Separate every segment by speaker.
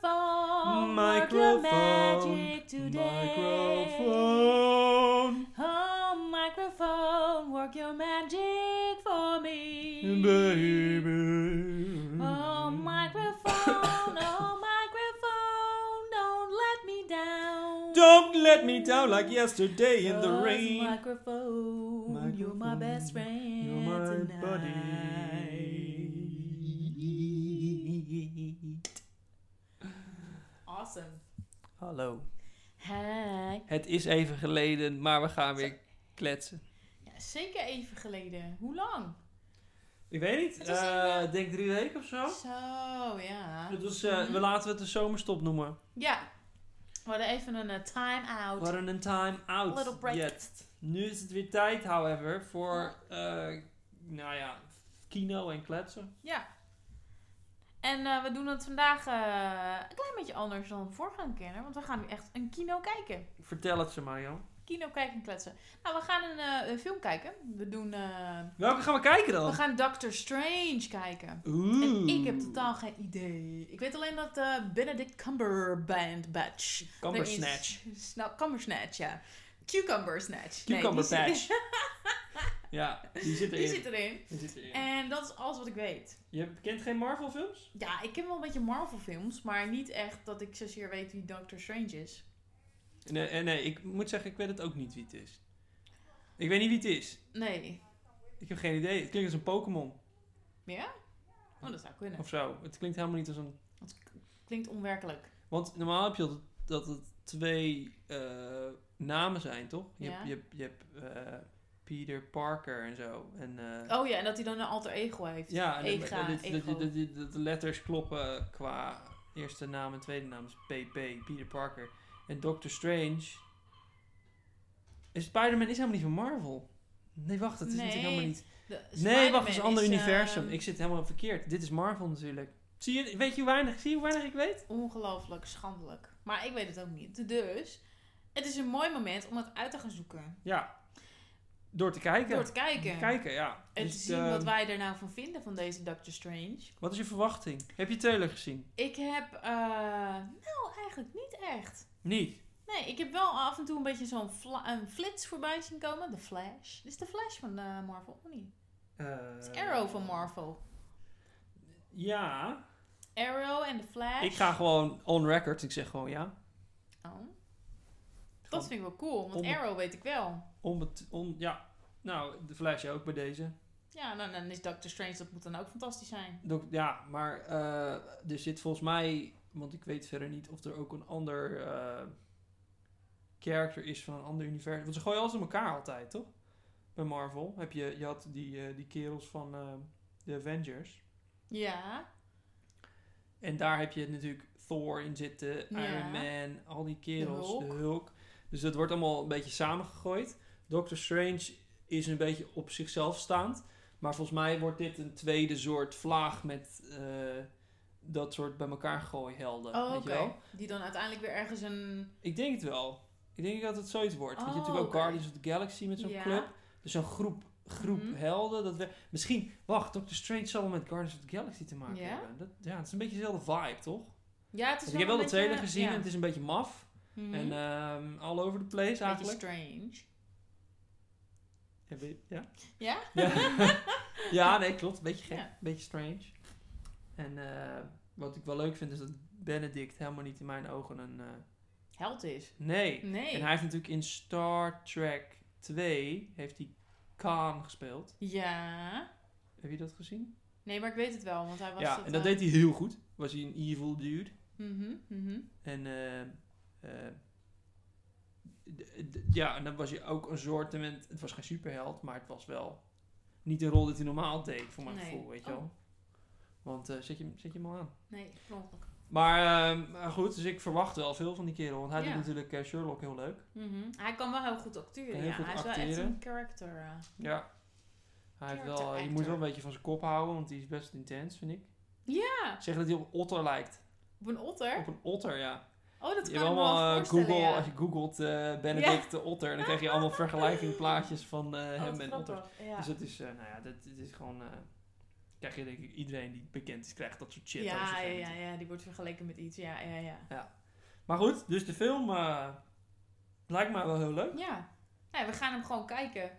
Speaker 1: Microphone,
Speaker 2: Microphone,
Speaker 1: work your magic today.
Speaker 2: Microfoon.
Speaker 1: Oh, microphone, work your magic for me.
Speaker 2: Baby.
Speaker 1: Oh, microphone, oh, microphone, don't let me down.
Speaker 2: Don't let me down like yesterday in the
Speaker 1: 'Cause
Speaker 2: rain.
Speaker 1: Microphone, you're my best friend
Speaker 2: You're my
Speaker 1: tonight.
Speaker 2: buddy.
Speaker 1: Awesome.
Speaker 2: Hallo.
Speaker 1: Hi.
Speaker 2: Het is even geleden, maar we gaan weer kletsen.
Speaker 1: Ja, zeker even geleden. Hoe lang?
Speaker 2: Ik weet niet.
Speaker 1: Het is, eh,
Speaker 2: eh, denk drie weken of zo.
Speaker 1: Zo, ja. Mhm.
Speaker 2: Het was, eh, we laten we het de zomerstop noemen.
Speaker 1: Ja. We hadden even een eh, time-out.
Speaker 2: We hadden een time out.
Speaker 1: Little break.
Speaker 2: yet. Nu is het weer tijd, however, voor eh, nou ja, kino en kletsen.
Speaker 1: Ja. En eh, we doen het vandaag eh, een klein beetje anders dan de vorige keer. Want we gaan nu echt een kino kijken.
Speaker 2: Vertel het ze, Marian.
Speaker 1: Kino kijken en kletsen. Nou, we gaan een, eh, een film kijken. We doen... eh,
Speaker 2: Welke gaan we kijken dan?
Speaker 1: we gaan Doctor Strange kijken. En
Speaker 2: Oeh.
Speaker 1: ik heb totaal geen idee. Ik weet alleen dat eh, Benedict Cumberbatch...
Speaker 2: Cumbersnatch.
Speaker 1: Er is- Nou, Cumbersnatch, ja. Cucumber Snatch. Nee, die
Speaker 2: Cucumber
Speaker 1: zit-
Speaker 2: patch. ja, die zit erin.
Speaker 1: Die zit erin.
Speaker 2: Die zit erin.
Speaker 1: En dat is alles wat ik weet.
Speaker 2: Je kent geen Marvel films?
Speaker 1: Ja, ik ken wel een beetje Marvel films, maar niet echt dat ik zozeer weet wie Doctor Strange is.
Speaker 2: Nee, eh, nee, ik moet zeggen, ik weet het ook niet wie het is. Ik weet niet wie het is.
Speaker 1: Nee.
Speaker 2: Ik heb geen idee. Het klinkt als een Pokémon
Speaker 1: Oh, dat zou kunnen.
Speaker 2: of zo. Het klinkt helemaal niet als een...
Speaker 1: Klinkt onwerkelijk.
Speaker 2: Want normaal heb je dat, dat het twee eh, namen zijn, toch? Je
Speaker 1: Ja.
Speaker 2: hebt, je hebt, je hebt eh, Peter Parker en zo. En, eh,
Speaker 1: Oh ja, en dat hij dan een alter ego heeft.
Speaker 2: ja, en dat-
Speaker 1: Ega,
Speaker 2: dat- dat-
Speaker 1: ego.
Speaker 2: dat- dat- dat- dat de letters kloppen qua eerste naam en tweede naam. is PP, Peter Parker. En Doctor Strange... En Spider-Man is helemaal niet van Marvel. Nee, wacht, dat is
Speaker 1: Nee.
Speaker 2: natuurlijk helemaal niet...
Speaker 1: De-
Speaker 2: Nee,
Speaker 1: Spider-Man
Speaker 2: wacht, het is een ander universum.
Speaker 1: ehm,
Speaker 2: Ik zit helemaal verkeerd. Dit is Marvel natuurlijk. Zie je, weet je hoe weinig, zie je hoe weinig ik weet?
Speaker 1: Ongelooflijk, schandelijk. Maar ik weet het ook niet. Dus, het is een mooi moment om het uit te gaan zoeken.
Speaker 2: Ja. Door te kijken.
Speaker 1: Door te kijken.
Speaker 2: Kijken, ja.
Speaker 1: En te
Speaker 2: Dus,
Speaker 1: zien
Speaker 2: ehm,
Speaker 1: wat wij er nou van vinden van deze Doctor Strange.
Speaker 2: Wat is je verwachting? Heb je trailer gezien?
Speaker 1: Ik heb, eh, nou eigenlijk niet echt.
Speaker 2: Niet.
Speaker 1: Nee, ik heb wel af en toe een beetje zo'n fla- een flits voorbij zien komen. De Flash. Dit is de Flash van eh, Marvel, of niet? Het
Speaker 2: Eh,
Speaker 1: is Arrow van Marvel.
Speaker 2: Ja.
Speaker 1: Arrow en de Flash.
Speaker 2: Ik ga gewoon on record. Ik zeg gewoon ja.
Speaker 1: Oh, dat
Speaker 2: Gewoon
Speaker 1: vind ik wel cool, want
Speaker 2: Om-
Speaker 1: Arrow weet ik wel.
Speaker 2: onbet- on- ja. Nou, de Flash ook bij deze.
Speaker 1: Ja, nou, dan is Doctor Strange, dat moet dan ook fantastisch zijn.
Speaker 2: Dok- ja, maar eh, er zit volgens mij, want ik weet verder niet of er ook een ander eh character is van een ander universum. Want ze gooien alles in elkaar altijd, toch? Bij Marvel heb je, je had die, eh, die kerels van eh, de Avengers.
Speaker 1: Ja,
Speaker 2: En daar heb je natuurlijk Thor in zitten,
Speaker 1: Ja.
Speaker 2: Iron Man, al die kerels,
Speaker 1: De
Speaker 2: de
Speaker 1: Hulk.
Speaker 2: Hulk. Dus dat wordt allemaal een beetje samengegooid. Doctor Strange is een beetje op zichzelf staand. Maar volgens mij wordt dit een tweede soort vlaag met eh, dat soort bij elkaar gooi helden.
Speaker 1: oh,
Speaker 2: weet
Speaker 1: oké.
Speaker 2: je wel?
Speaker 1: Die dan uiteindelijk weer ergens een...
Speaker 2: Ik denk het wel. Ik denk dat het zoiets wordt. Want je hebt
Speaker 1: Oh,
Speaker 2: natuurlijk
Speaker 1: oké.
Speaker 2: ook Guardians of the Galaxy met zo'n
Speaker 1: Ja.
Speaker 2: club. Dus zo'n groep, groep
Speaker 1: Mhm.
Speaker 2: helden. Dat we, misschien, wacht, Doctor Strange zal wel met Guardians of the Galaxy te maken
Speaker 1: Ja?
Speaker 2: hebben. Dat, ja, het is een beetje dezelfde vibe, toch?
Speaker 1: Ja, het is
Speaker 2: Want ik heb wel de
Speaker 1: een beetje-
Speaker 2: trailer gezien
Speaker 1: ja.
Speaker 2: en het is een beetje maf.
Speaker 1: Mhm.
Speaker 2: En ehm all over the place
Speaker 1: beetje
Speaker 2: eigenlijk.
Speaker 1: strange.
Speaker 2: Heb je- Ja?
Speaker 1: Ja?
Speaker 2: Ja. ja, nee, klopt. Beetje gek.
Speaker 1: Ja.
Speaker 2: Beetje strange. En eh, wat ik wel leuk vind is dat Benedict helemaal niet in mijn ogen een... eh,
Speaker 1: Held is.
Speaker 2: nee.
Speaker 1: Nee.
Speaker 2: En hij heeft natuurlijk in Star Trek 2 heeft hij Khan gespeeld.
Speaker 1: Ja.
Speaker 2: Heb je dat gezien?
Speaker 1: Nee, maar ik weet het eh, Mhm, wel, want hij was
Speaker 2: ja, en dat deed hij heel goed. Was hij een evil dude.
Speaker 1: hij...
Speaker 2: En eh, eh, d- d- ja, en dan was hij ook een soort... Het was geen superheld, maar het was wel niet een rol dat hij normaal deed, voor mijn
Speaker 1: Nee.
Speaker 2: gevoel, weet je
Speaker 1: Oh.
Speaker 2: wel. Want eh, zet, je, hem- zet je hem al aan.
Speaker 1: Nee, klopt.
Speaker 2: Maar, eh, maar goed, dus ik verwacht wel veel van die kerel. Want hij
Speaker 1: Ja.
Speaker 2: doet natuurlijk eh, Sherlock heel leuk.
Speaker 1: Mhm. Hij kan wel heel goed acteren,
Speaker 2: Kan heel
Speaker 1: ja.
Speaker 2: goed
Speaker 1: hij is wel echt
Speaker 2: acteren.
Speaker 1: een character. eh.
Speaker 2: Ja. Hij heeft
Speaker 1: Character
Speaker 2: wel, eh, je
Speaker 1: actor.
Speaker 2: moet wel een beetje van zijn kop houden, want die is best intens, vind ik.
Speaker 1: Ja,
Speaker 2: Zeg dat hij op een otter lijkt.
Speaker 1: op een otter.
Speaker 2: Op een otter, ja.
Speaker 1: Oh, dat kan
Speaker 2: je hebt
Speaker 1: ik me wel
Speaker 2: allemaal eh,
Speaker 1: voorstellen,
Speaker 2: Google,
Speaker 1: ja.
Speaker 2: als je googelt eh Benedict de otter, dan krijg je allemaal vergelijkingplaatjes van eh,
Speaker 1: Oh,
Speaker 2: hem
Speaker 1: wat
Speaker 2: en Dus otters.
Speaker 1: grappig, Ja.
Speaker 2: Dus dat is, eh, nou ja, dat, dit is gewoon eh, krijg je denk ik iedereen die bekend is, krijgt dat soort shit. over
Speaker 1: ja,
Speaker 2: zich
Speaker 1: ja,
Speaker 2: heen.
Speaker 1: ja, ja, die wordt vergeleken met iets. Ja, ja, ja.
Speaker 2: Maar goed, dus de film eh, lijkt mij wel heel leuk.
Speaker 1: Ja. Nee, we gaan hem gewoon kijken.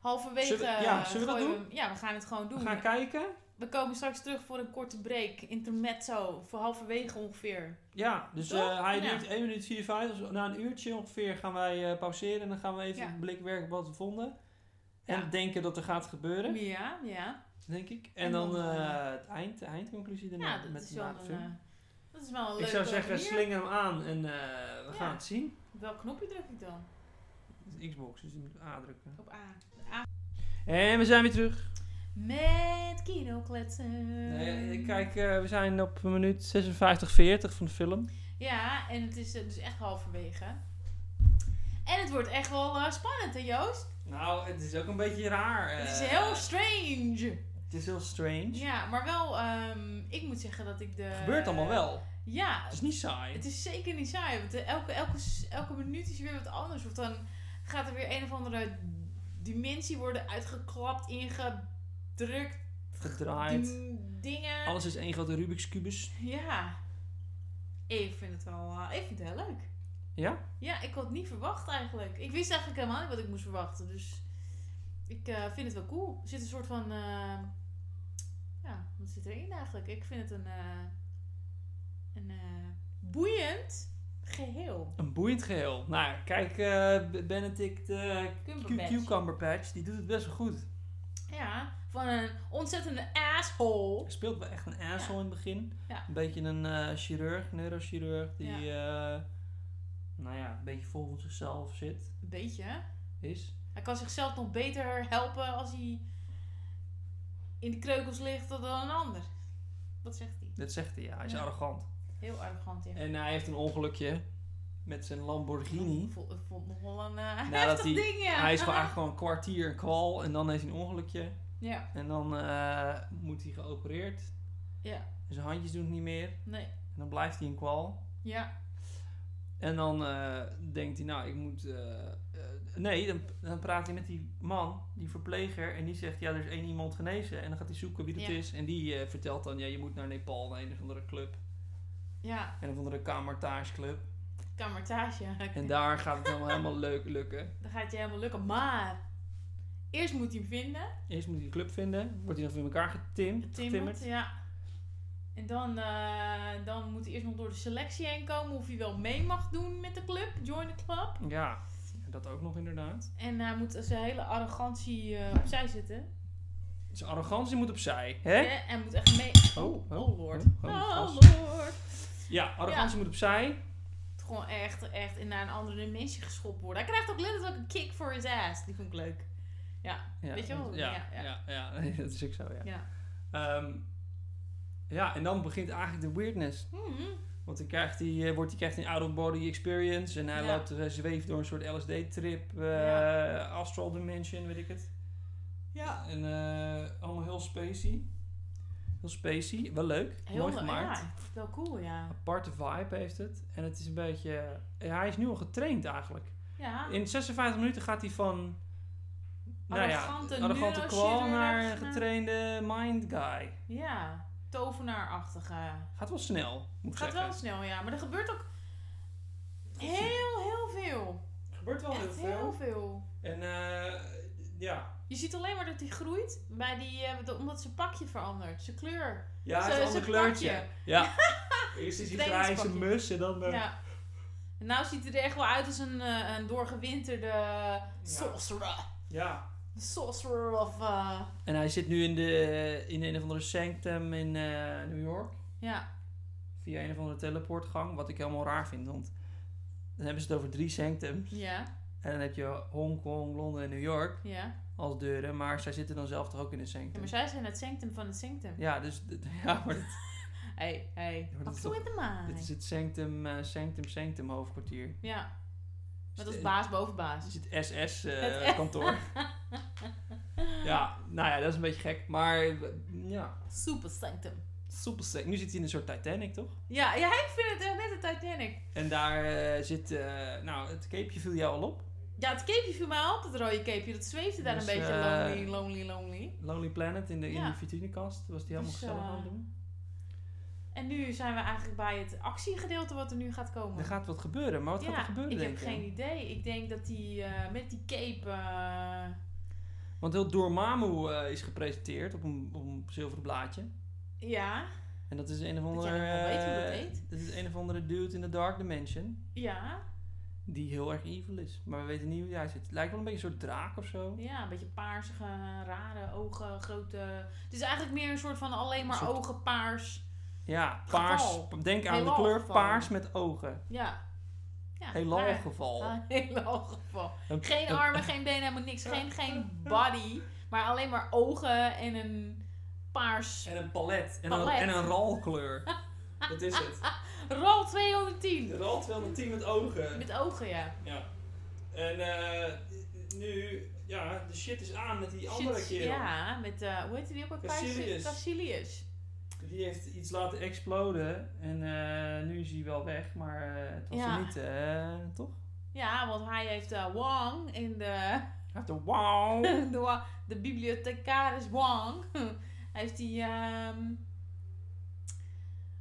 Speaker 1: Halverwege.
Speaker 2: Zullen we- ja,
Speaker 1: eh,
Speaker 2: zullen we dat
Speaker 1: gooien
Speaker 2: doen?
Speaker 1: hem- ja, we gaan het gewoon doen.
Speaker 2: We gaan kijken.
Speaker 1: We komen straks terug voor een korte break. Intermezzo. Voor halverwege ongeveer.
Speaker 2: Ja, dus
Speaker 1: Toch?
Speaker 2: eh, hij
Speaker 1: Ja.
Speaker 2: duurt 1 minuut 54. Dus na een uurtje ongeveer gaan wij eh, pauzeren. En dan gaan we even
Speaker 1: Ja.
Speaker 2: een blik werken op wat we vonden. En
Speaker 1: Ja.
Speaker 2: denken dat er gaat gebeuren,
Speaker 1: Ja, ja.
Speaker 2: denk ik. En,
Speaker 1: En
Speaker 2: dan,
Speaker 1: dan,
Speaker 2: eh,
Speaker 1: eh,
Speaker 2: het eind, de eindconclusie daarna
Speaker 1: Ja, dat
Speaker 2: met
Speaker 1: is
Speaker 2: de
Speaker 1: wel
Speaker 2: na de
Speaker 1: een.
Speaker 2: film.
Speaker 1: eh, dat is wel een
Speaker 2: ik
Speaker 1: leuke
Speaker 2: zou zeggen,
Speaker 1: manier.
Speaker 2: slinger hem aan en eh, we
Speaker 1: Ja.
Speaker 2: gaan het zien.
Speaker 1: Welk knopje druk ik dan?
Speaker 2: Het is Xbox, dus je moet aandrukken.
Speaker 1: Op A. A.
Speaker 2: En we zijn weer terug.
Speaker 1: Met kinokletsen.
Speaker 2: Eh, kijk, eh, we zijn op minuut 56.40 van de film.
Speaker 1: Ja, en het is eh, dus echt halverwege. En het wordt echt wel eh, spannend, hè Joost?
Speaker 2: Nou, het is ook een beetje raar.
Speaker 1: het is
Speaker 2: eh.
Speaker 1: heel strange.
Speaker 2: Het is heel strange.
Speaker 1: Ja, maar wel, ehm, ik moet zeggen dat ik de...
Speaker 2: Het gebeurt allemaal wel.
Speaker 1: Ja,
Speaker 2: Het is niet saai.
Speaker 1: het is zeker niet saai. Want eh, elke, elke, s- elke minuut is weer wat anders. Of dan gaat er weer een of andere dimensie worden uitgeklapt, ingedrukt.
Speaker 2: Gedraaid.
Speaker 1: dim- Dingen.
Speaker 2: Alles is één grote Rubik's Cubus.
Speaker 1: Ja. Ik vind het wel, eh, ik vind het heel leuk.
Speaker 2: Ja?
Speaker 1: Ja, ik had het niet verwacht eigenlijk. Ik wist eigenlijk helemaal niet wat ik moest verwachten. Dus ik eh, vind het wel cool. Er zit een soort van. eh, ja, wat zit erin eigenlijk? Ik vind het een. eh, een eh, boeiend geheel.
Speaker 2: Een boeiend geheel. Nou, kijk, eh Benedict eh,
Speaker 1: Cumberbatch.
Speaker 2: Cu- Cucumber Patch, die doet het best wel goed.
Speaker 1: Ja, van een ontzettende asshole.
Speaker 2: Hij speelt wel echt een asshole in het begin.
Speaker 1: Ja.
Speaker 2: Een beetje een eh, chirurg, neurochirurg, die, eh, nou ja, een beetje vol van zichzelf zit.
Speaker 1: Een beetje, hè?
Speaker 2: Is.
Speaker 1: Hij kan zichzelf nog beter helpen als hij in de kreukels ligt dan een ander. Dat zegt hij.
Speaker 2: Dat zegt hij, ja. Hij is
Speaker 1: Ja.
Speaker 2: arrogant.
Speaker 1: Heel arrogant, ja.
Speaker 2: En hij heeft een ongelukje met zijn Lamborghini.
Speaker 1: Ik vond, ik vond het nog wel een eh,
Speaker 2: dat
Speaker 1: heftig
Speaker 2: hij-
Speaker 1: ding, ja.
Speaker 2: Hij is gewoon eigenlijk gewoon een kwartier een kwal en dan heeft hij een ongelukje.
Speaker 1: Ja,
Speaker 2: En dan eh, moet hij geopereerd.
Speaker 1: ja,
Speaker 2: En zijn handjes doen het niet meer.
Speaker 1: nee,
Speaker 2: En dan blijft hij een kwal.
Speaker 1: ja,
Speaker 2: En dan eh, denkt hij, nou, ik moet... eh, eh, nee, dan, dan praat hij met die man, die verpleger. En die zegt, ja, er is één iemand genezen. En dan gaat hij zoeken wie dat
Speaker 1: Ja.
Speaker 2: is. En die eh, vertelt dan, ja, je moet naar Nepal, naar een of andere club.
Speaker 1: ja,
Speaker 2: Een of andere kamertaagclub.
Speaker 1: kamertage.
Speaker 2: En daar gaat het helemaal, helemaal leuk lukken.
Speaker 1: Dan gaat je helemaal lukken, maar eerst moet hij hem vinden,
Speaker 2: Eerst moet hij de club vinden. Wordt hij nog in elkaar getimd,
Speaker 1: timmert,
Speaker 2: getimmerd.
Speaker 1: ja. En dan, eh, dan moet hij eerst nog door de selectie heen komen of hij wel mee mag doen met de club, join the club.
Speaker 2: Ja, dat ook nog inderdaad.
Speaker 1: En hij moet zijn hele arrogantie eh, opzij zetten.
Speaker 2: Zijn Dus arrogantie moet opzij. Hè?
Speaker 1: Ja, Hij moet echt mee...
Speaker 2: Oh, oh,
Speaker 1: oh lord.
Speaker 2: oh, oh,
Speaker 1: Oh
Speaker 2: gast.
Speaker 1: lord.
Speaker 2: Ja, arrogantie moet opzij.
Speaker 1: Het Gewoon echt, echt in naar een andere dimensie geschopt worden. Hij krijgt ook letterlijk een kick voor his ass. Die vond ik leuk.
Speaker 2: Ja,
Speaker 1: Weet je wel?
Speaker 2: Ja, ja,
Speaker 1: Ja,
Speaker 2: ja.
Speaker 1: ja.
Speaker 2: nee, dat is ook zo, ja.
Speaker 1: Ja.
Speaker 2: Ehm, ja, en dan begint eigenlijk de weirdness.
Speaker 1: Mhm.
Speaker 2: Want dan krijgt hij, eh, wordt, hij krijgt een out-of-body experience. En hij
Speaker 1: Ja.
Speaker 2: loopt, eh, zweeft door een soort LSD-trip. eh,
Speaker 1: Ja.
Speaker 2: Astral Dimension, weet ik het.
Speaker 1: Ja.
Speaker 2: En eh, allemaal heel spacey. Heel spacey. Wel leuk.
Speaker 1: Heel
Speaker 2: Mooi
Speaker 1: le-
Speaker 2: gemaakt.
Speaker 1: Ja, wel cool, ja.
Speaker 2: Aparte vibe heeft het. En het is een beetje... ja, hij is nu al getraind eigenlijk.
Speaker 1: Ja.
Speaker 2: In 56 minuten gaat hij van... nou
Speaker 1: Arrogante
Speaker 2: arrogante kwal naar
Speaker 1: neurochirurg naar-
Speaker 2: getrainde mind guy.
Speaker 1: Ja. Tovenaarachtige.
Speaker 2: Gaat wel snel, moet
Speaker 1: Het
Speaker 2: ik
Speaker 1: gaat
Speaker 2: zeggen.
Speaker 1: wel snel, ja. Maar er gebeurt ook heel, heel veel.
Speaker 2: Er gebeurt wel
Speaker 1: Echt heel veel.
Speaker 2: En eh, ja.
Speaker 1: Je ziet alleen maar dat hij groeit. Bij die, eh, dat- omdat zijn pakje verandert. Zijn kleur.
Speaker 2: Ja,
Speaker 1: Zo,
Speaker 2: het is een
Speaker 1: is
Speaker 2: ander
Speaker 1: een
Speaker 2: kleurtje.
Speaker 1: pakje.
Speaker 2: Ja. Eerst is die
Speaker 1: Trainingspakje.
Speaker 2: grijze mus en dan... eh,
Speaker 1: Ja. En nou ziet hij er echt wel uit als een, eh, een doorgewinterde sorcerer.
Speaker 2: ja.
Speaker 1: De sorcerer of... eh,
Speaker 2: En hij zit nu in, de, in een of andere sanctum in eh, New York.
Speaker 1: ja.
Speaker 2: Via een of andere teleportgang. Wat ik helemaal raar vind, want... Dan hebben ze het over drie sanctums.
Speaker 1: Ja.
Speaker 2: En dan heb je Hongkong, Londen en New York
Speaker 1: Ja.
Speaker 2: als deuren. Maar zij zitten dan zelf toch ook in een
Speaker 1: Ja,
Speaker 2: sanctum.
Speaker 1: Maar zij zijn het sanctum van het sanctum.
Speaker 2: Ja, dus... d- Ja, maar
Speaker 1: Hey, hey.
Speaker 2: Ja, maar dat
Speaker 1: Pak
Speaker 2: is
Speaker 1: zo
Speaker 2: toch-
Speaker 1: in de maan.
Speaker 2: Dit is het Sanctum, eh, Sanctum, Sanctum hoofdkwartier.
Speaker 1: Ja, met als
Speaker 2: Eh,
Speaker 1: baas boven
Speaker 2: Dit is
Speaker 1: baas.
Speaker 2: het
Speaker 1: Het S.
Speaker 2: SS-kantoor. ja, nou ja, dat is een beetje gek. Maar eh, ja,
Speaker 1: Super sanctum.
Speaker 2: super sick. Nu zit hij in een soort Titanic, toch?
Speaker 1: Ja, ja, ik vind het echt net een Titanic.
Speaker 2: En daar eh, zit... eh, nou, het capeje viel jou al op.
Speaker 1: Ja, het capeje viel mij op, het rode capeje. Dat zweefde daar
Speaker 2: Dus,
Speaker 1: een beetje
Speaker 2: eh,
Speaker 1: lonely, lonely, lonely.
Speaker 2: Lonely Planet in de, in
Speaker 1: Ja.
Speaker 2: de vitrinekast. Was die helemaal
Speaker 1: Dus,
Speaker 2: gezellig
Speaker 1: eh,
Speaker 2: aan het doen.
Speaker 1: En nu zijn we eigenlijk bij het actiegedeelte wat er nu gaat komen.
Speaker 2: Er gaat wat gebeuren, maar wat gaat er gebeuren
Speaker 1: ik
Speaker 2: denk
Speaker 1: heb
Speaker 2: je?
Speaker 1: geen idee. Ik denk dat die eh, met die cape... eh,
Speaker 2: Want heel Dormammu eh, is gepresenteerd op een, op een zilveren blaadje.
Speaker 1: ja,
Speaker 2: En dat is een of
Speaker 1: Dat
Speaker 2: andere...
Speaker 1: jij helemaal weet hoe dat
Speaker 2: eh,
Speaker 1: heet.
Speaker 2: dat is een of andere dude in de Dark Dimension.
Speaker 1: ja,
Speaker 2: Die heel erg evil is. Maar we weten niet hoe hij zit. Lijkt wel een beetje een soort draak of zo.
Speaker 1: ja, een beetje paarsige, rare ogen, grote... Het is eigenlijk meer een soort van alleen maar
Speaker 2: Een soort-
Speaker 1: ogen paars.
Speaker 2: Ja, paars.
Speaker 1: Geval.
Speaker 2: Denk aan de
Speaker 1: Heelal
Speaker 2: kleur
Speaker 1: geval.
Speaker 2: paars met ogen.
Speaker 1: Ja. ja
Speaker 2: Heelal
Speaker 1: maar-
Speaker 2: geval.
Speaker 1: Ah, Heelal geval.
Speaker 2: Een-
Speaker 1: Geen
Speaker 2: een-
Speaker 1: armen, geen benen, helemaal niks. Geen, geen body, maar alleen maar ogen en een paars.
Speaker 2: En een palet. En,
Speaker 1: Palet.
Speaker 2: Een, en een ralkleur. dat is het.
Speaker 1: Rol 210!
Speaker 2: Ral 210 met ogen.
Speaker 1: Met ogen, ja.
Speaker 2: Ja. En eh, nu, ja, de shit is aan met die andere
Speaker 1: Shit,
Speaker 2: kerel.
Speaker 1: Ja, met, eh, hoe heet die ook alweer?
Speaker 2: Caecilius.
Speaker 1: Cassilius.
Speaker 2: Die heeft iets laten exploden. En eh, nu is hij wel weg, maar eh, het was
Speaker 1: Ja.
Speaker 2: er niet, eh, toch?
Speaker 1: Ja, want hij heeft eh, Wang in de,
Speaker 2: Hij heeft een wow.
Speaker 1: de, wa- de bibliothecaris Wang. heeft die, ehm,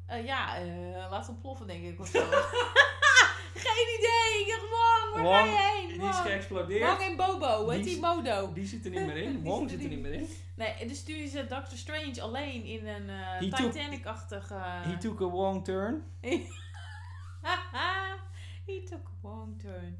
Speaker 1: eh, ja, eh laten ontploffen denk ik of zo. Geen idee, ik dacht Wang, waar
Speaker 2: Wang,
Speaker 1: ga je heen?
Speaker 2: die is
Speaker 1: Wang.
Speaker 2: geëxplodeerd.
Speaker 1: Wang en Bobo, hoe heet
Speaker 2: Die
Speaker 1: die
Speaker 2: is-
Speaker 1: Modo?
Speaker 2: Die zit er niet meer in.
Speaker 1: Die
Speaker 2: Wong
Speaker 1: zit
Speaker 2: zit
Speaker 1: er
Speaker 2: er niet meer in.
Speaker 1: Nee, en dus nu is eh, Doctor Strange alleen in een eh,
Speaker 2: He took-
Speaker 1: Titanic-achtige...
Speaker 2: He took a wrong turn.
Speaker 1: Haha, He took a wrong turn.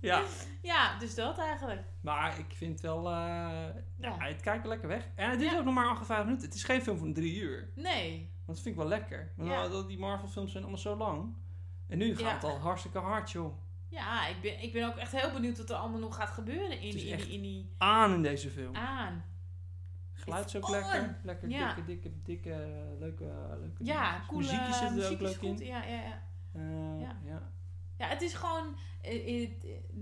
Speaker 2: Ja,
Speaker 1: Ja, dus dat eigenlijk.
Speaker 2: maar ik vind wel... eh, ja, het kijkt wel lekker weg. En het is
Speaker 1: Ja.
Speaker 2: ook nog maar 58 minuten. Het is geen film van drie uur.
Speaker 1: Nee.
Speaker 2: Want dat vind ik wel lekker. Want
Speaker 1: Ja.
Speaker 2: al die Marvel films zijn allemaal zo lang. En nu gaat
Speaker 1: Ja.
Speaker 2: het al hartstikke hard, joh.
Speaker 1: Ja, ik ben, ik ben ook echt heel benieuwd wat er allemaal nog gaat gebeuren in,
Speaker 2: Het is
Speaker 1: die, in,
Speaker 2: echt-
Speaker 1: die, in die
Speaker 2: Aan in deze film.
Speaker 1: aan.
Speaker 2: Geluid is ook
Speaker 1: Ah, on.
Speaker 2: lekker. Lekker
Speaker 1: Ja.
Speaker 2: dikke, dikke, dikke, leuke, eh, leuke
Speaker 1: Ja,
Speaker 2: dingetjes.
Speaker 1: coole
Speaker 2: Muziekje zit er ook
Speaker 1: muziek is
Speaker 2: leuk in.
Speaker 1: goed. Ja, ja, ja.
Speaker 2: Eh,
Speaker 1: Ja.
Speaker 2: ja.
Speaker 1: ja, het is gewoon... eh, eh,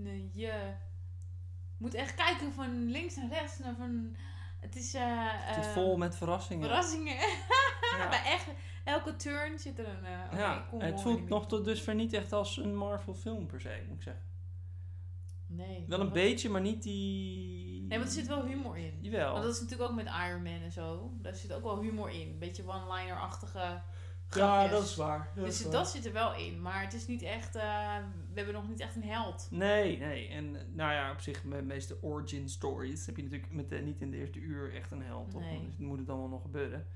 Speaker 1: eh, je moet echt kijken van links naar rechts. Naar van, het is... eh,
Speaker 2: Het zit
Speaker 1: eh,
Speaker 2: vol met verrassingen.
Speaker 1: Verrassingen.
Speaker 2: Ja.
Speaker 1: Bij echt, elke turn zit er een... eh, oké,
Speaker 2: Ja,
Speaker 1: kom,
Speaker 2: het
Speaker 1: hoor,
Speaker 2: voelt
Speaker 1: die-
Speaker 2: nog tot dus dusver niet echt als een Marvel film per se, moet ik zeggen.
Speaker 1: Nee.
Speaker 2: Wel een beetje, maar niet die...
Speaker 1: Nee, want er zit wel humor in.
Speaker 2: Jawel.
Speaker 1: Want dat is natuurlijk ook met Iron Man en zo. Daar zit ook wel humor in. Een beetje one-liner-achtige
Speaker 2: ja,
Speaker 1: grapjes.
Speaker 2: dat is waar. Dat
Speaker 1: Dus
Speaker 2: is waar.
Speaker 1: dat zit er wel in. Maar het is niet echt... eh, we hebben nog niet echt een held.
Speaker 2: Nee, nee. En eh, nou ja, op zich, met de meeste origin stories heb je natuurlijk met, eh, niet in de eerste uur echt een held. toch?
Speaker 1: Nee.
Speaker 2: Dan is- moet het allemaal nog gebeuren.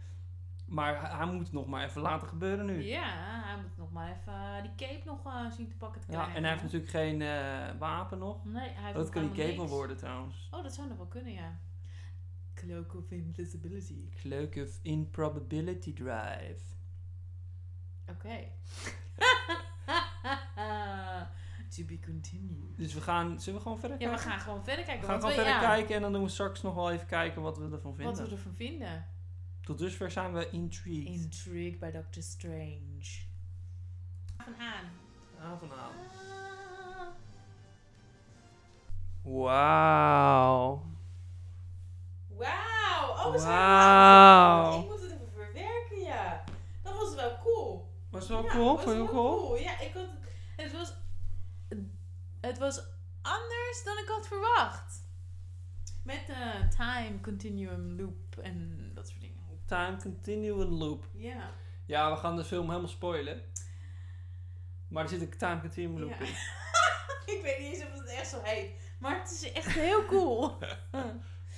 Speaker 2: Maar hij, hij moet het nog maar even laten gebeuren
Speaker 1: Hmm.
Speaker 2: nu.
Speaker 1: Ja, hij moet nog maar even eh, die cape nog eh, zien te pakken te
Speaker 2: Ja,
Speaker 1: krijgen.
Speaker 2: en hij heeft natuurlijk geen eh, wapen nog.
Speaker 1: Nee, hij heeft
Speaker 2: dat
Speaker 1: nog
Speaker 2: kan die
Speaker 1: helemaal
Speaker 2: cape wel
Speaker 1: niks.
Speaker 2: worden trouwens.
Speaker 1: Oh, dat zou nog wel kunnen, ja. Cloak of Invisibility.
Speaker 2: Cloak of Improbability Drive.
Speaker 1: Oké. to be continued.
Speaker 2: Dus we gaan, zullen we gewoon verder
Speaker 1: Ja, we
Speaker 2: kijken?
Speaker 1: gaan gewoon verder kijken.
Speaker 2: We gaan
Speaker 1: want
Speaker 2: gewoon verder
Speaker 1: ja,
Speaker 2: kijken en dan doen we straks nog wel even kijken wat we ervan vinden.
Speaker 1: Wat we ervan vinden.
Speaker 2: Tot dusver zijn we intrigued.
Speaker 1: Intrigue by Doctor Strange. Van aan.
Speaker 2: Avondavond.
Speaker 1: Ah.
Speaker 2: Wauw.
Speaker 1: Wauw! Oh, we zijn
Speaker 2: Wauw.
Speaker 1: laat. Ik moet het even verwerken, ja. Dat was wel cool.
Speaker 2: Was wel
Speaker 1: Ja,
Speaker 2: cool?
Speaker 1: was
Speaker 2: Vond je
Speaker 1: wel
Speaker 2: hem cool?
Speaker 1: Ja, ik had het... Het was... Het was anders dan ik had verwacht. Met de time continuum loop en dat soort dingen.
Speaker 2: Time Continuum Loop.
Speaker 1: Ja.
Speaker 2: Ja, we gaan de film helemaal spoilen. Maar er zit een Time Continuum Loop
Speaker 1: Ja.
Speaker 2: in.
Speaker 1: ik weet niet eens of het echt zo heet. Maar het is echt heel cool.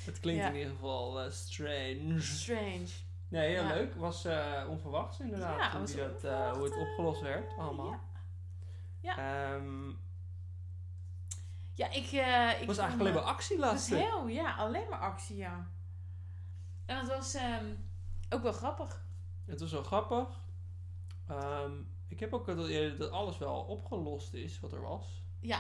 Speaker 2: Het klinkt
Speaker 1: Ja.
Speaker 2: in ieder geval eh, strange.
Speaker 1: Strange.
Speaker 2: Nee, heel
Speaker 1: Ja.
Speaker 2: leuk. Was eh onverwachts inderdaad.
Speaker 1: Ja,
Speaker 2: hoe,
Speaker 1: was
Speaker 2: die dat, eh,
Speaker 1: onverwacht,
Speaker 2: hoe het
Speaker 1: eh,
Speaker 2: opgelost werd allemaal.
Speaker 1: ja.
Speaker 2: Ehm,
Speaker 1: Ja, ik... eh ik
Speaker 2: het was
Speaker 1: vond,
Speaker 2: eigenlijk alleen
Speaker 1: eh,
Speaker 2: maar actie
Speaker 1: Het was
Speaker 2: laatste.
Speaker 1: heel, ja, alleen maar actie, ja. En dat was ehm, ook wel grappig.
Speaker 2: Het was wel grappig. Ehm, ik heb ook het idee dat alles wel opgelost is wat er was.
Speaker 1: Ja.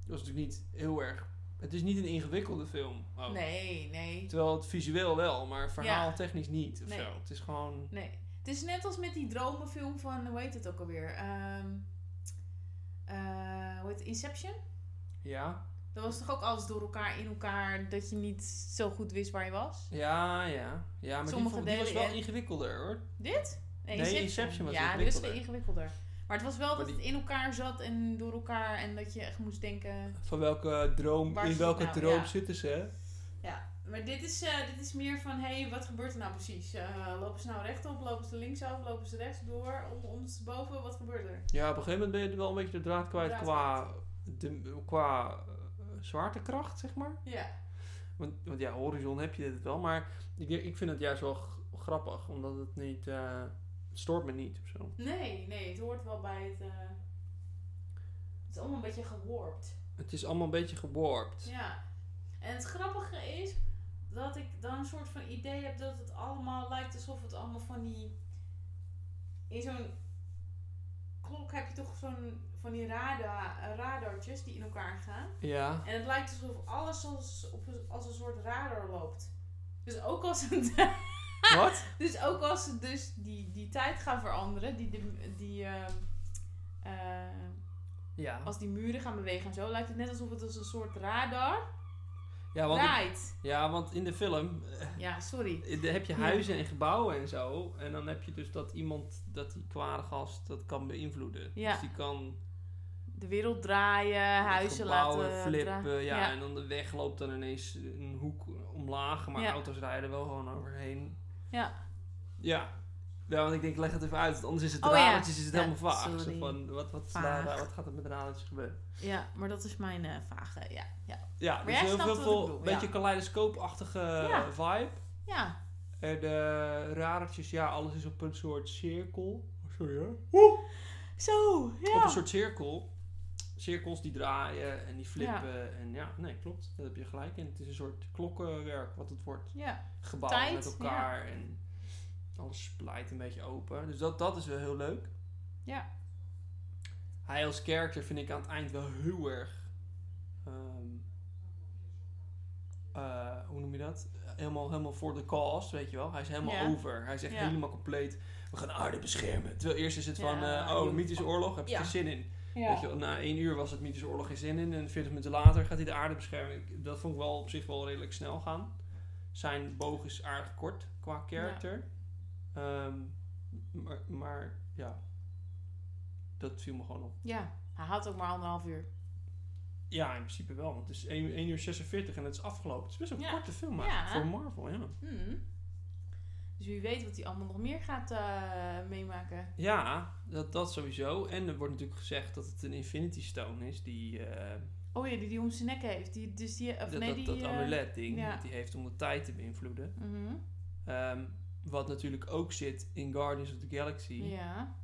Speaker 2: Het was natuurlijk niet heel erg... Het is niet een ingewikkelde film. ook.
Speaker 1: Nee, nee,
Speaker 2: Terwijl het visueel wel, maar verhaaltechnisch niet. Of
Speaker 1: Nee.
Speaker 2: zo. Het is gewoon...
Speaker 1: nee. Het is net als met die dromenfilm van, hoe heet het ook alweer? Ehm eh, hoe heet het? Inception?
Speaker 2: Ja,
Speaker 1: Dat was toch ook alles door elkaar, in elkaar, dat je niet zo goed wist waar je was?
Speaker 2: ja, ja. Ja, maar die,
Speaker 1: Sommige
Speaker 2: vond- die was
Speaker 1: delen,
Speaker 2: wel
Speaker 1: ja.
Speaker 2: ingewikkelder hoor.
Speaker 1: Dit?
Speaker 2: Nee, Inception was
Speaker 1: Ja, dit is
Speaker 2: ingewikkelder.
Speaker 1: veel ingewikkelder. Maar het was wel dat
Speaker 2: die-
Speaker 1: het in elkaar zat en door elkaar. En dat je echt moest denken...
Speaker 2: Van welke droom,
Speaker 1: Waar
Speaker 2: in
Speaker 1: zit het
Speaker 2: welke
Speaker 1: nou?
Speaker 2: droom
Speaker 1: Ja.
Speaker 2: zitten ze? hè?
Speaker 1: Ja, maar dit is, eh, dit is meer van... Hé, hey, wat gebeurt er nou precies? Eh, lopen ze nou rechtop? Lopen ze linksaf? Lopen ze rechtsdoor? Om, ondersteboven? Wat gebeurt er?
Speaker 2: Ja, op een gegeven moment ben je wel een beetje de draad kwijt
Speaker 1: Draad
Speaker 2: qua, de, qua eh, zwaartekracht, zeg maar.
Speaker 1: Ja.
Speaker 2: Want, want ja, horizon heb je dit wel, maar ik, ik vind het juist wel g- grappig, omdat het niet, eh, het stoort me niet of zo.
Speaker 1: Nee, nee. Het hoort wel bij het... eh, Het is allemaal een beetje geworpt.
Speaker 2: Het is allemaal een beetje geworpt.
Speaker 1: Ja. En het grappige is dat ik dan een soort van idee heb dat het allemaal lijkt alsof het allemaal van die. In zo'n klok heb je toch zo'n van die radar, eh, radartjes die in elkaar gaan.
Speaker 2: Ja.
Speaker 1: En het lijkt alsof alles als, op, een- als een soort radar loopt. Dus ook als, het,
Speaker 2: Wat?
Speaker 1: dus ook als ze dus die, die tijd gaan veranderen, die, de, die, ehm, eh,
Speaker 2: Ja.
Speaker 1: als die muren gaan bewegen en zo, lijkt het net alsof het als een soort radar
Speaker 2: Ja want,
Speaker 1: draait.
Speaker 2: ja, want in de film eh,
Speaker 1: Ja, sorry.
Speaker 2: eh, heb je
Speaker 1: Ja.
Speaker 2: huizen en gebouwen en zo. En dan heb je dus dat iemand, dat die kwade gast, dat kan beïnvloeden.
Speaker 1: Ja.
Speaker 2: Dus die kan
Speaker 1: De wereld draaien, huizen
Speaker 2: gebouwen
Speaker 1: laten
Speaker 2: flippen.
Speaker 1: draaien.
Speaker 2: Ja,
Speaker 1: Ja.
Speaker 2: en dan de weg loopt dan ineens een hoek omlaag. Maar
Speaker 1: Ja.
Speaker 2: auto's rijden wel gewoon overheen.
Speaker 1: Ja.
Speaker 2: Ja. Ja, want ik denk, leg het even uit, want anders is het
Speaker 1: Oh, ja.
Speaker 2: radertjes, is het
Speaker 1: Ja,
Speaker 2: helemaal vaag. Zo
Speaker 1: sorry.
Speaker 2: van, wat, wat, is
Speaker 1: Vaag.
Speaker 2: daar- wat gaat er met radertjes gebeuren?
Speaker 1: Ja, maar dat is mijn eh vage. Ja, ja.
Speaker 2: Ja,
Speaker 1: Maar
Speaker 2: dus
Speaker 1: jij
Speaker 2: heel
Speaker 1: snapt
Speaker 2: veel,
Speaker 1: wat ik
Speaker 2: veel
Speaker 1: bedoel, ja.
Speaker 2: beetje kaleidoscoopachtige
Speaker 1: Ja.
Speaker 2: vibe.
Speaker 1: ja.
Speaker 2: En de radertjes, ja, alles is op een soort cirkel. Oh, Sorry hoor.
Speaker 1: Zo, ja.
Speaker 2: Op een soort cirkel. Cirkels die draaien en die flippen. En ja, nee, klopt. Dat heb je gelijk. En het is een soort klokkenwerk wat het wordt.
Speaker 1: Ja,
Speaker 2: Gebouwen
Speaker 1: Tijd,
Speaker 2: met elkaar en alles splijt een beetje open. Dus dat, dat is wel heel leuk.
Speaker 1: Ja.
Speaker 2: Hij als character vind ik aan het eind wel heel erg... ehm, eh, hoe noem je dat? Helemaal, helemaal voor de cast, weet je wel. Hij is helemaal
Speaker 1: Ja.
Speaker 2: over. Hij is echt
Speaker 1: Ja.
Speaker 2: helemaal compleet. We gaan de aarde beschermen. Terwijl eerst is het van...
Speaker 1: Ja,
Speaker 2: eh, oh,
Speaker 1: joh.
Speaker 2: mythische oorlog. Heb je
Speaker 1: Ja.
Speaker 2: geen zin in. Weet
Speaker 1: ja.
Speaker 2: je, wel, na één uur was het mythische oorlog geen zin in. En 40 minuten later gaat hij de aarde beschermen. Ik- Dat vond ik wel op zich wel redelijk snel gaan. Zijn boog is aardig kort qua character. Ehm, maar, maar ja, dat viel me gewoon op.
Speaker 1: ja, hij had ook maar anderhalf uur.
Speaker 2: Ja, in principe wel. Want het is 1, uur 46 en het is afgelopen. Het is best een
Speaker 1: Ja.
Speaker 2: korte film eigenlijk
Speaker 1: Ja.
Speaker 2: voor Marvel, ja.
Speaker 1: Hmm. Dus wie weet wat hij allemaal nog meer gaat eh, meemaken.
Speaker 2: Ja, dat, dat sowieso. En er wordt natuurlijk gezegd dat het een Infinity Stone is. Die, eh,
Speaker 1: Oh ja, die die om zijn nek heeft. Die, dus die, of
Speaker 2: dat,
Speaker 1: nee,
Speaker 2: dat,
Speaker 1: die...
Speaker 2: dat
Speaker 1: eh,
Speaker 2: amulet ding
Speaker 1: ja.
Speaker 2: dat die heeft om de tijd te beïnvloeden.
Speaker 1: mhm.
Speaker 2: Ehm, wat natuurlijk ook zit in Guardians of the Galaxy
Speaker 1: Ja,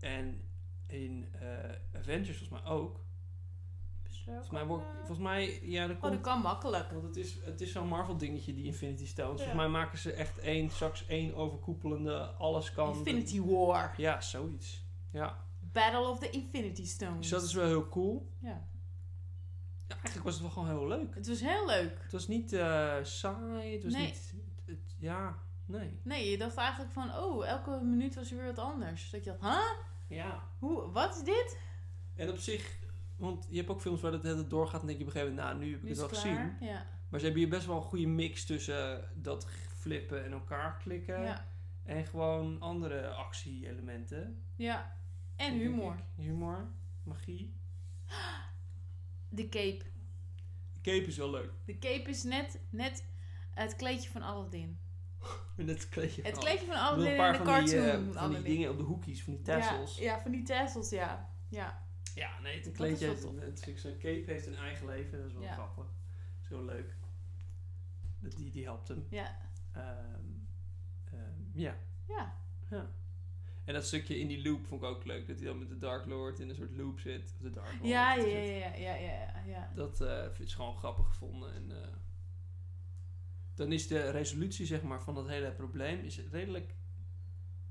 Speaker 2: en in eh, Avengers volgens mij ook. Volgens mij, wordt,
Speaker 1: besloten.
Speaker 2: volgens mij ja, dat
Speaker 1: Oh, dat
Speaker 2: komt.
Speaker 1: kan makkelijk.
Speaker 2: Want het is, het is zo'n Marvel dingetje, die Infinity Stones.
Speaker 1: Ja.
Speaker 2: Volgens mij maken ze echt één, straks één overkoepelende, alles kan.
Speaker 1: Infinity War.
Speaker 2: Ja, zoiets. Ja.
Speaker 1: Battle of the Infinity Stones.
Speaker 2: Dus dat is wel heel cool.
Speaker 1: Ja.
Speaker 2: Ja, eigenlijk was het wel gewoon heel leuk.
Speaker 1: Het was heel leuk.
Speaker 2: Het was niet eh, saai, het was
Speaker 1: Nee.
Speaker 2: niet... het- ja, nee.
Speaker 1: Nee, je dacht eigenlijk van, oh, elke minuut was er weer wat anders. Dat je dacht, huh?
Speaker 2: Ja.
Speaker 1: Hoe, wat is dit?
Speaker 2: En op zich, want je hebt ook films waar dat het hele doorgaat en denk je op een gegeven moment, nou, nu heb ik
Speaker 1: Nu is
Speaker 2: het wel
Speaker 1: het
Speaker 2: gezien.
Speaker 1: klaar. Ja.
Speaker 2: Maar ze hebben hier best wel een goede mix tussen dat flippen en elkaar klikken
Speaker 1: ja.
Speaker 2: en gewoon andere actie-elementen.
Speaker 1: Ja. En
Speaker 2: Denk
Speaker 1: humor.
Speaker 2: ik. Humor, magie.
Speaker 1: De cape.
Speaker 2: De cape is wel leuk.
Speaker 1: De cape is net, net het kleedje van Aladdin.
Speaker 2: En dat kleedje.
Speaker 1: Het
Speaker 2: van-
Speaker 1: kleedje van
Speaker 2: Oh. Ik bedoel,
Speaker 1: Aladdin en
Speaker 2: een paar
Speaker 1: de
Speaker 2: van die, eh,
Speaker 1: cartoon
Speaker 2: van die
Speaker 1: Aladdin.
Speaker 2: dingen op de hoekjes, van die tassels.
Speaker 1: Ja, ja, van die tassels, ja. Ja.
Speaker 2: Ja, nee, het een
Speaker 1: Dat is
Speaker 2: kleedje
Speaker 1: wel
Speaker 2: heeft
Speaker 1: tof.
Speaker 2: een, het is- zijn cape heeft een eigen leven. Dat is wel
Speaker 1: Ja.
Speaker 2: grappig. Zo leuk. Dat- Die, die helpt hem.
Speaker 1: Ja.
Speaker 2: Ehm, ehm, ja.
Speaker 1: Ja.
Speaker 2: Ja. En dat stukje in die loop vond ik ook leuk. Dat hij dan met de Dark Lord in een soort loop zit. Of de Dark Lord
Speaker 1: Ja, ja,
Speaker 2: zit.
Speaker 1: ja, ja, ja, ja, ja.
Speaker 2: Dat eh, is gewoon grappig gevonden. En, eh, dan is de resolutie zeg maar, van dat hele probleem is redelijk...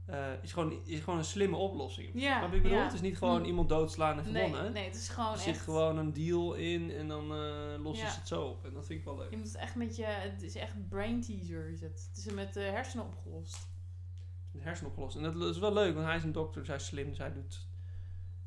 Speaker 2: eh, is, gewoon, is gewoon een slimme oplossing.
Speaker 1: Ja,
Speaker 2: Snap je wat ik bedoel?
Speaker 1: ja.
Speaker 2: Het is niet gewoon
Speaker 1: Hm.
Speaker 2: iemand doodslaan en
Speaker 1: Nee,
Speaker 2: gewonnen.
Speaker 1: nee, het is gewoon
Speaker 2: Er
Speaker 1: echt...
Speaker 2: zit gewoon een deal in en dan eh lossen
Speaker 1: Ja.
Speaker 2: ze het zo op. En dat vind ik wel leuk.
Speaker 1: Je moet het echt met je... Het is echt een brain teaser, is het. Het is met de hersenen opgelost.
Speaker 2: Het hersenen opgelost. En dat is wel leuk, want hij is een dokter, dus hij is slim, dus hij doet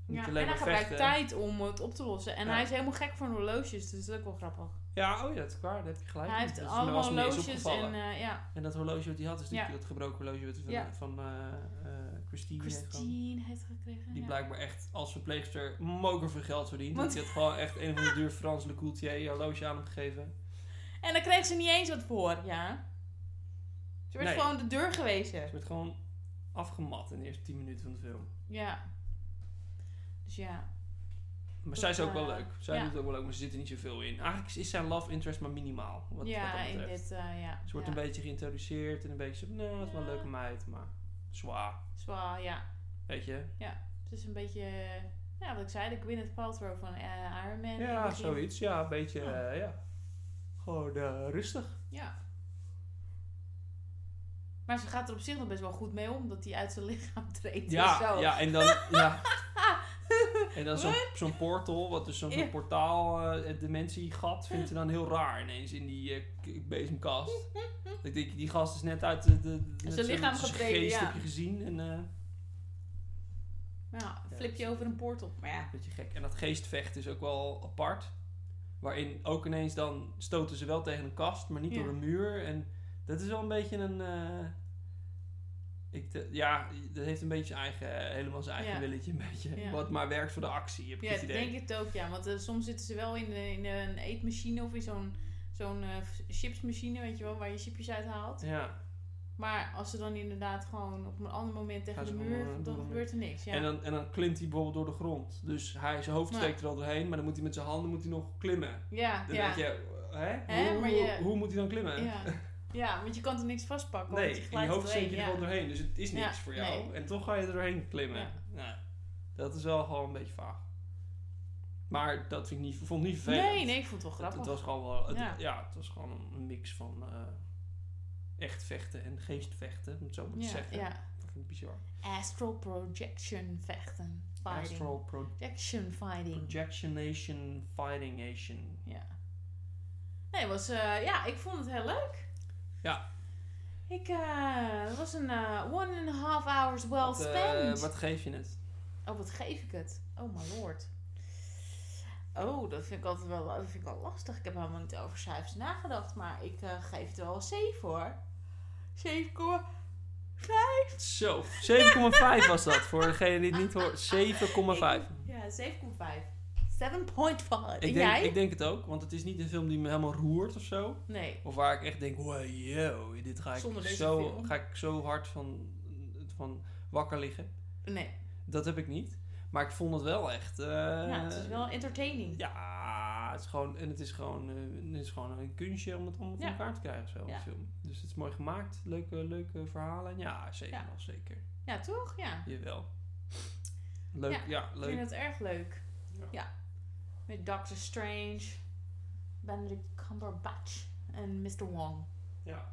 Speaker 2: niet
Speaker 1: Ja. En
Speaker 2: alleen
Speaker 1: hij
Speaker 2: maar
Speaker 1: gebruikt
Speaker 2: vechten.
Speaker 1: tijd om het op te lossen. En
Speaker 2: Ja.
Speaker 1: hij is helemaal gek van horloges, dus dat is ook wel grappig.
Speaker 2: Ja, oh ja, dat is waar, dat heb je gelijk.
Speaker 1: Hij
Speaker 2: Dat
Speaker 1: heeft
Speaker 2: is- dat was
Speaker 1: allemaal
Speaker 2: me niet eens
Speaker 1: horloges en
Speaker 2: opgevallen.
Speaker 1: eh, ja.
Speaker 2: dus En dat horloge wat hij had, is natuurlijk dat gebroken horloge wat hij van,
Speaker 1: Ja.
Speaker 2: van eh, eh, Christine. heeft gewoon-
Speaker 1: Christine heeft gekregen.
Speaker 2: Die
Speaker 1: ja.
Speaker 2: blijkbaar echt als verpleegster moker veel geld verdient.
Speaker 1: Want-
Speaker 2: Want die had gewoon echt een van de duur Frans Le Coultier horloge aan hem gegeven.
Speaker 1: En dan kreeg ze niet eens wat voor, ja. Ze werd
Speaker 2: Nee.
Speaker 1: gewoon de deur
Speaker 2: Ze
Speaker 1: gewezen.
Speaker 2: werd gewoon afgemat in de eerste 10 minuten van de film.
Speaker 1: Ja. Dus ja.
Speaker 2: Maar zij is ook wel
Speaker 1: eh,
Speaker 2: leuk. Zij
Speaker 1: ja.
Speaker 2: doet ook wel leuk, maar ze zit er niet zoveel in. Eigenlijk is zijn love interest maar minimaal. Wat, wat
Speaker 1: ja,
Speaker 2: dat
Speaker 1: in
Speaker 2: betreft.
Speaker 1: dit, eh, ja.
Speaker 2: Ze wordt
Speaker 1: ja.
Speaker 2: een beetje geïntroduceerd en een beetje zo, nou, het is wel een
Speaker 1: Ja.
Speaker 2: leuke meid, maar zwaar.
Speaker 1: Zwaar, ja.
Speaker 2: Weet je?
Speaker 1: Het is een beetje, eh, ja, wat ik zei, de Gwyneth Paltrow van eh, Iron Man.
Speaker 2: ja,
Speaker 1: Een beetje-
Speaker 2: zoiets. Ja, een beetje,
Speaker 1: Ja.
Speaker 2: eh, ja. Gewoon eh, rustig.
Speaker 1: Ja. Maar ze gaat er op zich nog best wel goed mee om, dat hij uit zijn lichaam treedt. en
Speaker 2: Ja,
Speaker 1: zo.
Speaker 2: ja, en dan, ja. En dan zo'n zo'n portal, wat dus zo'n
Speaker 1: Ja.
Speaker 2: portaal, eh, het dementiegat, vindt ze dan heel raar ineens in die eh, k- bezemkast. Ik denk, die gast is net uit de, de, de- net
Speaker 1: Zijn
Speaker 2: zo-
Speaker 1: lichaam
Speaker 2: zijn
Speaker 1: gebreken,
Speaker 2: geest
Speaker 1: ja.
Speaker 2: heb je gezien en eh, een
Speaker 1: Ja,
Speaker 2: Ja,
Speaker 1: Nou, flip je over een portal. Maar ja.
Speaker 2: beetje gek. En dat geestvecht is ook wel apart, waarin ook ineens dan stoten ze wel tegen een kast, maar niet
Speaker 1: Ja.
Speaker 2: door een muur. En dat is wel een beetje een, eh, ik, de- ja, dat heeft een beetje zijn eigen, eh, helemaal zijn eigen
Speaker 1: Ja.
Speaker 2: willetje, een beetje.
Speaker 1: Ja.
Speaker 2: Wat maar werkt voor de actie, heb ik
Speaker 1: Ja,
Speaker 2: het
Speaker 1: ik
Speaker 2: idee.
Speaker 1: denk het ook, ja. Want eh, soms zitten ze wel in, eh, in een eetmachine of in zo'n zo'n eh, chipsmachine, weet je wel, waar je chipjes uithaalt.
Speaker 2: Ja.
Speaker 1: Maar als ze dan inderdaad gewoon op een ander moment tegen
Speaker 2: Gaan
Speaker 1: de
Speaker 2: ze gewoon,
Speaker 1: muur,
Speaker 2: eh,
Speaker 1: dan
Speaker 2: door.
Speaker 1: gebeurt er niks. Ja.
Speaker 2: En, dan, en dan klimt hij bijvoorbeeld door de grond. Dus hij, zijn hoofd
Speaker 1: Ja.
Speaker 2: steekt er al doorheen, maar dan moet hij met zijn handen moet hij nog klimmen.
Speaker 1: ja,
Speaker 2: Dan
Speaker 1: ja,
Speaker 2: denk je, hè?
Speaker 1: Hè,
Speaker 2: hoe,
Speaker 1: maar
Speaker 2: hoe,
Speaker 1: je-
Speaker 2: hoe moet hij dan klimmen?
Speaker 1: ja. ja, want je kan er niks vastpakken.
Speaker 2: Nee,
Speaker 1: want je
Speaker 2: in je
Speaker 1: glijdt
Speaker 2: hoofd zink je
Speaker 1: doorheen,
Speaker 2: er gewoon
Speaker 1: ja.
Speaker 2: doorheen, dus het is niks
Speaker 1: Ja,
Speaker 2: voor jou.
Speaker 1: nee.
Speaker 2: En toch ga je er doorheen klimmen.
Speaker 1: Ja.
Speaker 2: Nou, dat is wel gewoon een beetje vaag. Maar dat vind ik niet, vond ik niet vervelend.
Speaker 1: Nee, nee, ik vond het wel
Speaker 2: Het,
Speaker 1: grappig.
Speaker 2: het was gewoon wel, het- ja.
Speaker 1: Ja.
Speaker 2: het was gewoon een mix van eh, echt vechten en geestvechten, om het zo maar te
Speaker 1: ja,
Speaker 2: zeggen.
Speaker 1: ja.
Speaker 2: Dat vind ik bizar.
Speaker 1: Astral projection vechten. Fighting.
Speaker 2: Astral pro
Speaker 1: Projection fighting.
Speaker 2: Projectionation Fighting Nation.
Speaker 1: Ja. Nee, het was, eh, ja, ik vond het heel leuk.
Speaker 2: Ja.
Speaker 1: Ik, eh, het was een eh, one and a half hours well
Speaker 2: wat, eh,
Speaker 1: spent.
Speaker 2: wat geef je het?
Speaker 1: Oh, wat geef ik het? Oh, my lord. Oh, dat vind ik altijd wel, dat vind ik wel lastig. Ik heb helemaal niet over cijfers nagedacht, maar ik eh, geef het wel een 7 hoor. 7,
Speaker 2: Zo, 7,5 was dat. Voor degene die het niet hoort, 7,5.
Speaker 1: ja, 7,5. 7,5. En
Speaker 2: Ik denk,
Speaker 1: jij?
Speaker 2: ik denk het ook, want het is niet een film die me helemaal roert of zo.
Speaker 1: nee.
Speaker 2: Of waar ik echt denk, wow, yo, dit ga ik,
Speaker 1: Zonder deze
Speaker 2: zo,
Speaker 1: film.
Speaker 2: ga ik zo hard van, van wakker liggen.
Speaker 1: Nee.
Speaker 2: Dat heb ik niet. Maar ik vond het wel echt... eh,
Speaker 1: ja, het is wel entertaining.
Speaker 2: Ja, het is gewoon, en het is gewoon, eh, het is gewoon een kunstje om het allemaal voor
Speaker 1: Ja.
Speaker 2: elkaar te krijgen, zo, een
Speaker 1: Ja.
Speaker 2: film. Dus het is mooi gemaakt, leuke, leuke verhalen. Ja, zeker
Speaker 1: Ja.
Speaker 2: wel, zeker.
Speaker 1: Ja, toch? Ja.
Speaker 2: Jawel. Leuk, ja,
Speaker 1: Ja, Ik
Speaker 2: leuk.
Speaker 1: vind het erg leuk.
Speaker 2: Ja.
Speaker 1: Ja. Met Doctor Strange, Benedict Cumberbatch en Mr. Wong.
Speaker 2: Ja.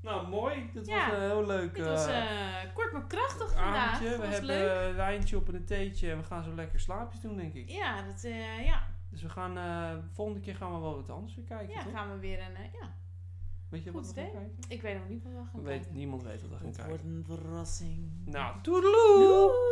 Speaker 2: Nou, mooi. Dit
Speaker 1: Ja.
Speaker 2: was een heel leuk
Speaker 1: Dit was
Speaker 2: eh,
Speaker 1: eh, kort maar krachtig vandaag.
Speaker 2: avondje. We
Speaker 1: was
Speaker 2: hebben
Speaker 1: leuk.
Speaker 2: een wijntje op en een theetje en we gaan zo lekker slaapjes doen, denk ik.
Speaker 1: Ja, dat, eh, ja.
Speaker 2: Dus we gaan, eh, volgende keer gaan we wel wat anders weer kijken,
Speaker 1: ja
Speaker 2: toch?
Speaker 1: gaan we weer een... eh, ja.
Speaker 2: Weet je
Speaker 1: Goed
Speaker 2: wat we gaan
Speaker 1: idee.
Speaker 2: kijken?
Speaker 1: Ik weet nog niet wat we gaan
Speaker 2: Weet,
Speaker 1: kijken. Nou,
Speaker 2: niemand weet wat we gaan kijken.
Speaker 1: een verrassing.
Speaker 2: Nou, toedeloe!